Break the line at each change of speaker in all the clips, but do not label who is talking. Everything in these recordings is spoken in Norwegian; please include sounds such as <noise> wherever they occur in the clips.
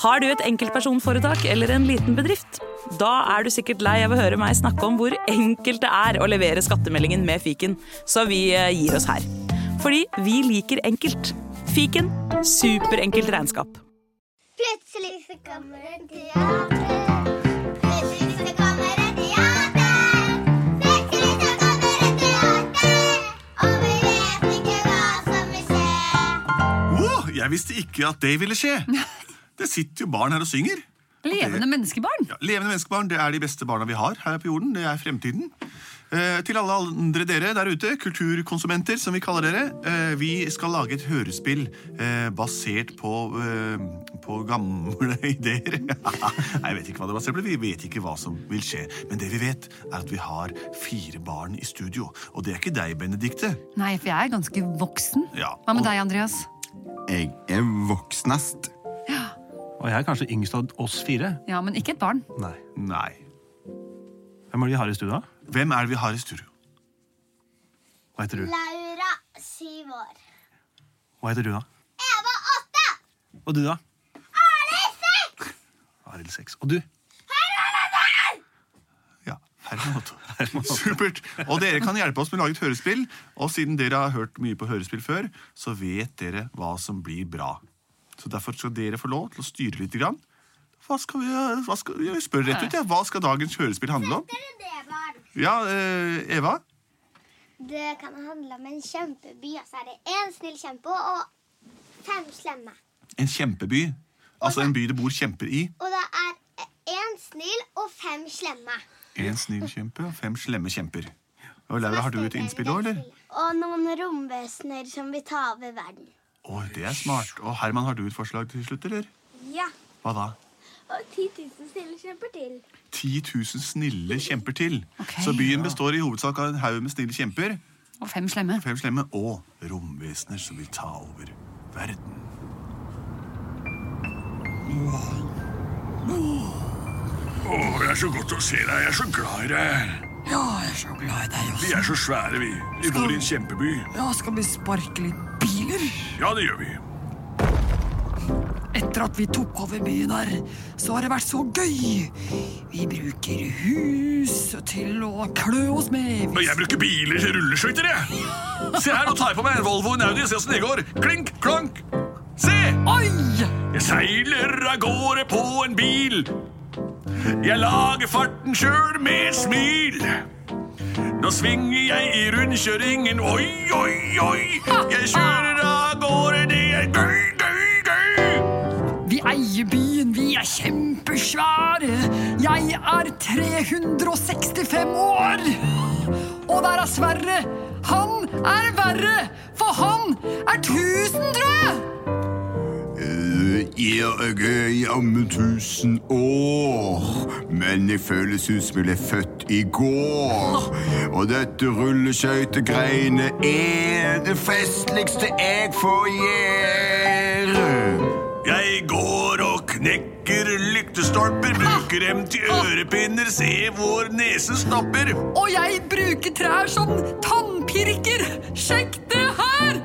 Har du et enkeltpersonforetak eller en liten bedrift? Da er du sikkert lei av å høre meg snakke om hvor enkelt det er å levere skattemeldingen med fiken, så vi eh, gir oss her. Fordi vi liker enkelt. Fiken superenkelt regnskap.
Plutselig så kommer det teater. Plutselig så kommer det teater. Plutselig så kommer det teater. Og vi vet ikke hva som vil skje.
Åh, jeg visste ikke at det ville skje. Det sitter jo barn her og synger.
Levende menneskebarn.
Ja, levende menneskebarn det er de beste barna vi har her på jorden. Det er fremtiden. Eh, til alle andre dere der ute, kulturkonsumenter som vi kaller dere, eh, vi skal lage et hørespill eh, basert på, eh, på gamle <laughs> ideer. Nei, jeg vet ikke hva det er basert på, vi vet ikke hva som vil skje. Men det vi vet, er at vi har fire barn i studio. Og det er ikke deg, Benedikte.
Nei, for jeg er ganske voksen.
Ja,
Hva med
og-
deg, Andreas?
Jeg er voksnest.
Og jeg er kanskje yngst av oss fire.
Ja, men ikke et barn.
Nei.
Nei.
Hvem er det vi har i stua?
Hvem er det vi har i studio?
Hva heter du?
Laura, syv år.
Hva heter du da?
Eva, åtte.
Og du da? Arild 6. Og du?
Ja, Herman Otto. Supert. Og dere kan hjelpe oss med å lage et hørespill. Og siden dere har hørt mye på hørespill før, så vet dere hva som blir bra. Så derfor skal dere få lov til å styre litt. Grann. Hva skal vi, hva skal, jeg spør rett ut, ja. Hva skal dagens hørespill handle om?
Det er det, barn.
Ja, eh, Eva?
Det kan handle om en kjempeby, og så er det én snill kjempe og fem slemme.
En kjempeby. Altså en by det bor kjemper i.
Og det er én snill og fem slemme.
En snill kjempe og fem slemme kjemper. Og Laura, har du et innspill òg, eller?
Og noen romvesener som vil ta over verden.
Å, det er smart. Og Herman, har du et forslag til slutt, eller?
Ja.
Hva da?
Og 10 000 snille kjemper til.
10 000 snille kjemper til.
Ok.
så byen består i hovedsak av en haug med snille kjemper,
Og fem slemme.
fem slemme og romvesener som vil ta over verden.
Å, det er så godt å se deg. Jeg er så glad i deg.
Ja, jeg er så glad i deg
Vi
også.
er så svære, vi. Vi bor i en kjempeby.
Ja, skal vi sparke litt biler?
Ja, det gjør vi.
Etter at vi tok over byen her, så har det vært så gøy. Vi bruker hus til å klø oss med.
Men jeg bruker biler til rulleskøyter, jeg. Se her, nå tar jeg på meg en Volvo og en Audi og ser åssen det går. Klink, klank. Se!
Oi!
Jeg seiler av gårde på en bil. Jeg lager farten sjøl med et smil. Nå svinger jeg i rundkjøringen, oi, oi, oi. Jeg kjører av gårde, det er gøy, gøy, gøy.
Vi eier byen, vi er kjempesvære. Jeg er 365 år. Og der er Sverre. Han er verre, for han er tusendrød!
Eh, Jeg er jammen tusen år, men jeg føles ut som jeg ble født i går. Og dette rulleskøytegreiene er det festligste jeg får gjøre.
Jeg går og knekker lyktestolper, bruker dem til ørepinner, se hvor nesen stopper.
Og jeg bruker trær som tannpirker. Sjekk det her!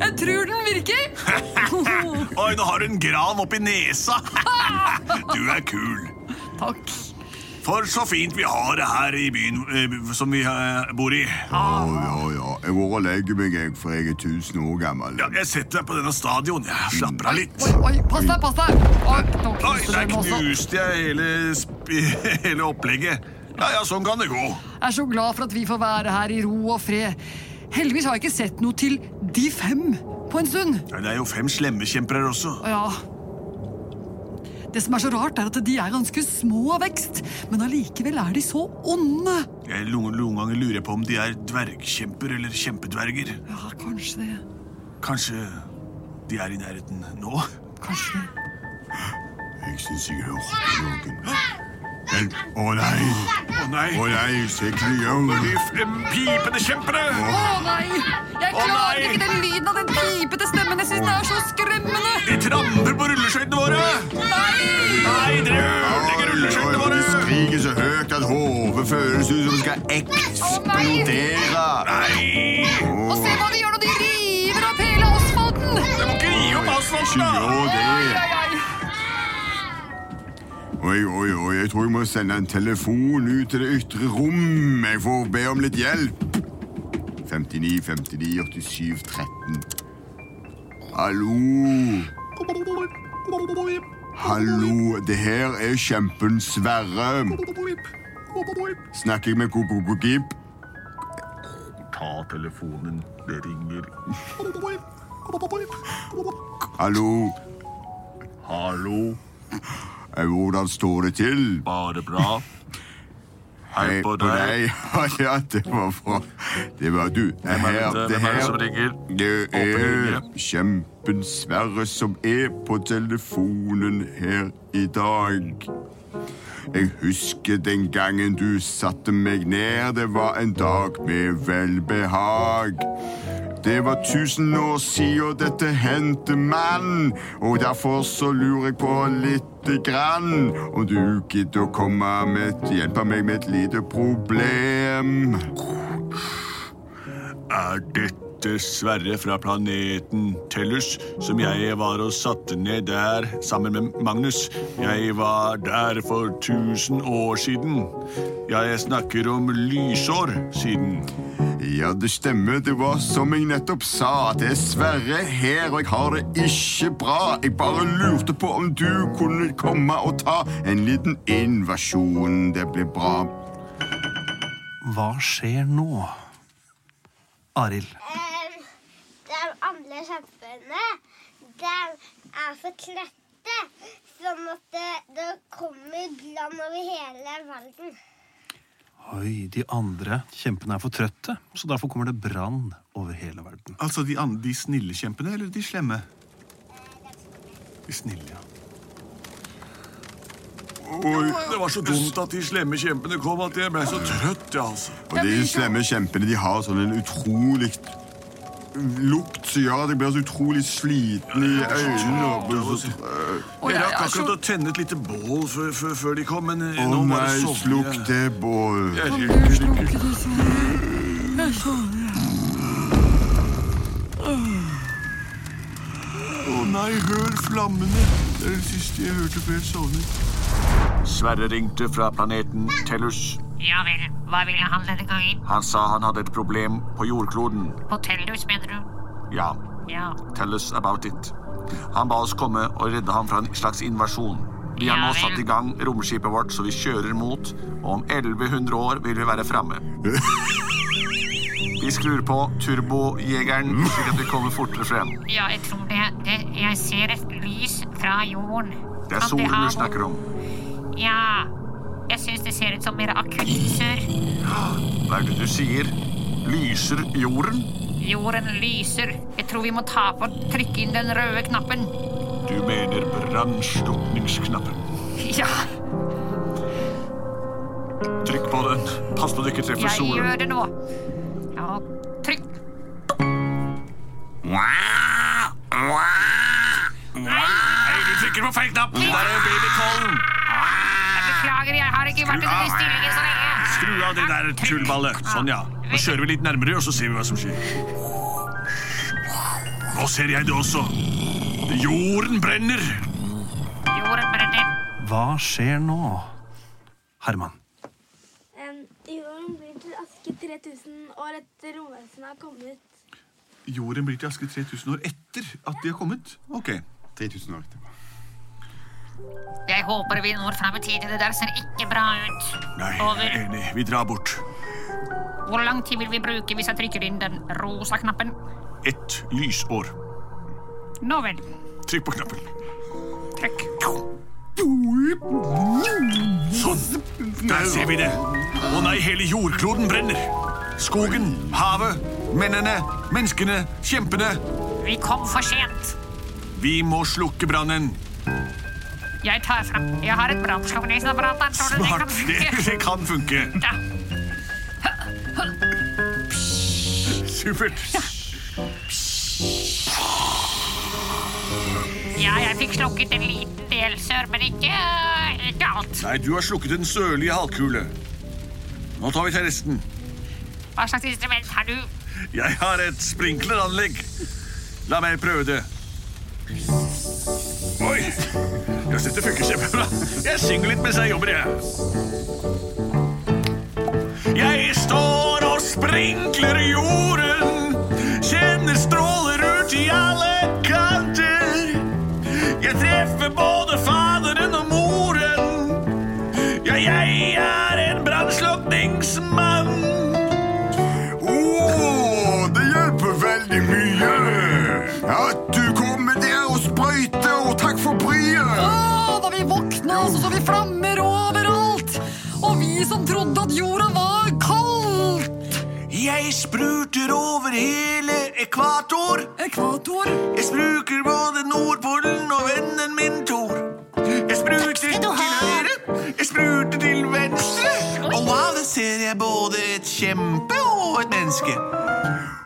Jeg tror den virker.
Oi, nå har du en gran oppi nesa. <laughs> Du er kul.
Takk.
For så fint vi har det her i byen eh, som vi eh, bor i.
Ja, ja, ja. Jeg går og legger meg, jeg, for jeg er tusen år gammel.
Ja, jeg setter meg på denne stadion. Jeg slapper av litt.
Oi, oi, pass deg, pass deg! Oi, nå
Oi,
knuste
der
den også.
knuste jeg hele, sp- hele opplegget. Ja, ja, sånn kan det gå.
Jeg er så glad for at vi får være her i ro og fred. Heldigvis har jeg ikke sett noe til De fem på en stund.
Ja, Det er jo fem slemmekjemper her også.
Å, Ja. Det som er så rart, er at de er ganske små av vekst, men allikevel er de så onde.
Jeg noen noen ganger lurer jeg på om de er dvergkjemper eller kjempedverger.
Ja, kanskje det.
Kanskje de er i nærheten nå?
Kanskje det.
Jeg syns jeg hørte noen. Hjelp! Å nei!
Å nei!
Å nei, se hva jeg gjør.
De frem pipende kjempere!
Å nei! Jeg
Å,
klarer
nei!
ikke den lyden av den pipete stemmen. Jeg syns den er så skremmende.
De tramper på rulleskøytene våre!
Nei!
Nei, dere ødelegger rulleskøytene
De
våre!
skriker så høyt at hodet føles ut som det skal eksplodere.
Nei!
Og se hva de gjør når de river opp hele asfalten!
Dere må ikke rive opp
Ikke
asfalten, da!
gjør det.
Ai, ai, ai.
Oi, oi, oi, jeg tror jeg må sende en telefon ut til det ytre rom. Jeg får be om litt hjelp. 59, 59, 87, 13. Hallo? Hallo, det her er kjempen Sverre. Snakker jeg med Kokokokip?
Ta telefonen, det <laughs> ringer.
Hallo,
Hallo,
eh, hvordan står det til? Eh,
bare bra. Hei på deg.
<laughs> Ja, det var bra. Det var du.
Hvem er dette?
det
Hvem er det
her-
som ringer?
Det
Håper
er
ingen.
kjempen Sverre som er på telefonen her i dag. Jeg husker den gangen du satte meg ned. Det var en dag med velbehag. Det var tusen år siden dette hendte, mann. Og derfor så lurer jeg på lite grann om du gidder å komme med, hjelpe meg med et lite problem.
Er dette Sverre fra planeten Tellus, som jeg var og satte ned der sammen med Magnus? Jeg var der for tusen år siden. Jeg snakker om lysår siden.
Ja, det stemmer. Det var som jeg nettopp sa. Det er Sverre her, og jeg har det ikke bra. Jeg bare lurte på om du kunne komme og ta en liten invasjon. Det blir bra.
Hva skjer nå? Arild.
Ehm, De andre kjempene de er så trøtte, sånn at det, det kommer brann over hele verden.
Oi, de andre kjempene er for trøtte, så derfor kommer det brann over hele verden.
Altså de, an- de snille kjempene eller de slemme? De snille, ja.
Oi, det var så dumt at de slemme kjempene kom at jeg ble så trøtt, jeg, altså.
Og de slemme kjempene de har sånn en utrolig lukt som gjør at jeg blir så utrolig sliten i øynene. og blir så-
Og
Jeg
jeg
rakk
er så
akkurat å tenne et lite bål før, før, før de kom, men eh,
Å
nå var
nei,
det
slukk det bål.
Å nei, hør flammene! Det er det siste jeg hørte før jeg sovnet.
Sverre ringte fra planeten Tellus.
Ja vel, hva ville han denne gangen?
Han sa han hadde et problem på jordkloden.
På Tellus, mener du?
Ja,
Ja.
tell us about it. Han ba oss komme og redde ham fra en slags invasjon. Vi har nå
Ja vel.
satt i gang romskipet vårt, så vi kjører mot, og om 1100 år vil vi være framme. Vi skrur på turbojegeren, slik at vi kommer fortere frem.
Ja, jeg tror det. det jeg ser et lys fra jorden.
Det er
Kan
solen
ha
vi snakker om.
noe- Ja. Jeg syns det ser ut som mer akutt surr.
Hva er det du sier? Lyser jorden?
Jorden lyser. Jeg tror vi må ta på trykke inn den røde knappen. <laughs>
Du mener brannslukningsknappen.
Ja,
Trykk på den. Pass på du ikke treffer
jeg gjør
solen.
det nå. Ja, trykk.
Hei, du trykker på feil knapp! Der er babykollen!
Jeg beklager, jeg har ikke vært i denne stillingen så lenge.
Skru av det der tullballet. Sånn, ja. Nå kjører vi litt nærmere, og så ser vi hva som skjer. Nå ser jeg det også. Jorden brenner.
Jorden brenner.
Hva skjer nå? Herman.
Um, jorden blir til aske 3000 år etter romvesenet har kommet.
Jorden blir til aske 3000 år etter at de har kommet. Ok.
3000 år etterpå.
Jeg håper vi når fram i tide. Det der ser ikke bra ut.
Nei,
Over.
enig. Vi drar bort.
Hvor lang tid vil vi bruke hvis jeg trykker inn den rosa knappen?
Ett lysår.
Nå vel.
Trykk på knappen.
Trykk.
Sånn. Der ser vi det. Å nei, hele jordkloden brenner. Skogen, havet, mennene, menneskene, kjempene.
Vi kom for sent.
Vi må slukke brannen.
Jeg tar fram Jeg har et brannslukningsapparat. der, tror du det kan
Smart. Det,
funke?
det kan funke.
Da.
Supert.
Ja, jeg fikk slukket en liten del sør, men ikke, ikke alt.
Nei, du har slukket den sørlige halvkule. Nå tar vi til resten.
Hva slags instrument har du?
Jeg har et sprinkleranlegg. La meg <laughs> prøve det. Oi! Jeg synes det funker kjempebra. Jeg synge litt mens jeg jobber, jeg. Jeg står og sprinkler jorden, kjenner stråler ut i alle kanter. Jeg treffer både faderen og moren. Ja, jeg er en brannslukningsmann.
Åh, det hjelper veldig mye at du kommer der og sprøyter, og takk for bryet.
Å, da vi våkna, så så vi flammer overalt. Og vi som trodde at jorda var kald.
Jeg spruter over hele ekvator.
Ekvator.
Jeg spruker både Nordpolen og vennen min Tor. Jeg spruter til høyre, jeg spruter til venstre. Og wow, der ser jeg både et kjempe og et menneske.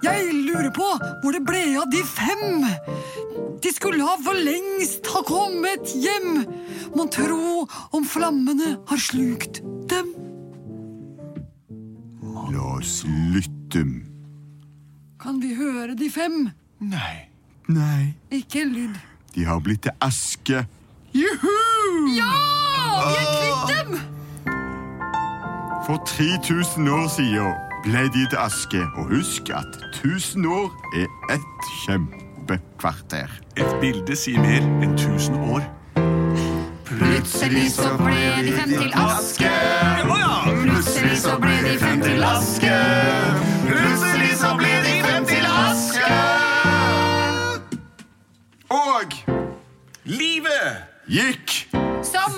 Jeg lurer på hvor det ble av de fem. De skulle ha for lengst ha kommet hjem. Mon tro om flammene har slukt dem.
La oss lytte.
Kan vi høre de fem?
Nei.
Nei,
Ikke en lyd.
de har blitt til aske.
Juhu!
Ja! Vi er kvitt dem!
For 3000 år siden ble de til aske, og husk at 1000 år er ett kjempekvarter.
Et bilde sier mer enn tusen år.
Plutselig
så ble de fem til aske.
Å ja!
Plutselig så ble de fem til
aske. Plutselig så ble de fem til aske. Og
Livet!
gikk
Som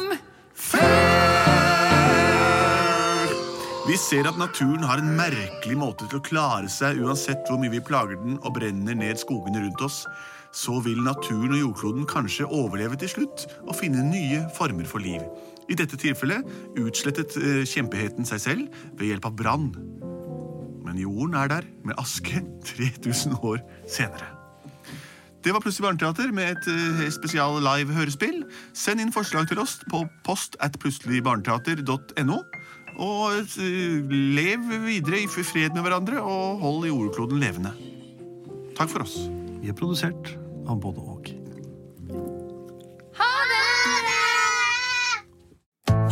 Vi ser at naturen har en merkelig måte til å klare seg uansett hvor mye vi plager den og brenner ned skogene rundt oss. Så vil naturen og jordkloden kanskje overleve til slutt og finne nye former for liv. I dette tilfellet utslettet eh, kjempeheten seg selv ved hjelp av brann. Men jorden er der med aske <laughs> 3000 år senere. Det var Plutselig barneteater med et eh, spesial live hørespill. Send inn forslag til oss på post at plutseligbarneteater.no. Og eh, lev videre i fred med hverandre, og hold jordkloden levende. Takk for oss.
Vi er produsert av både og.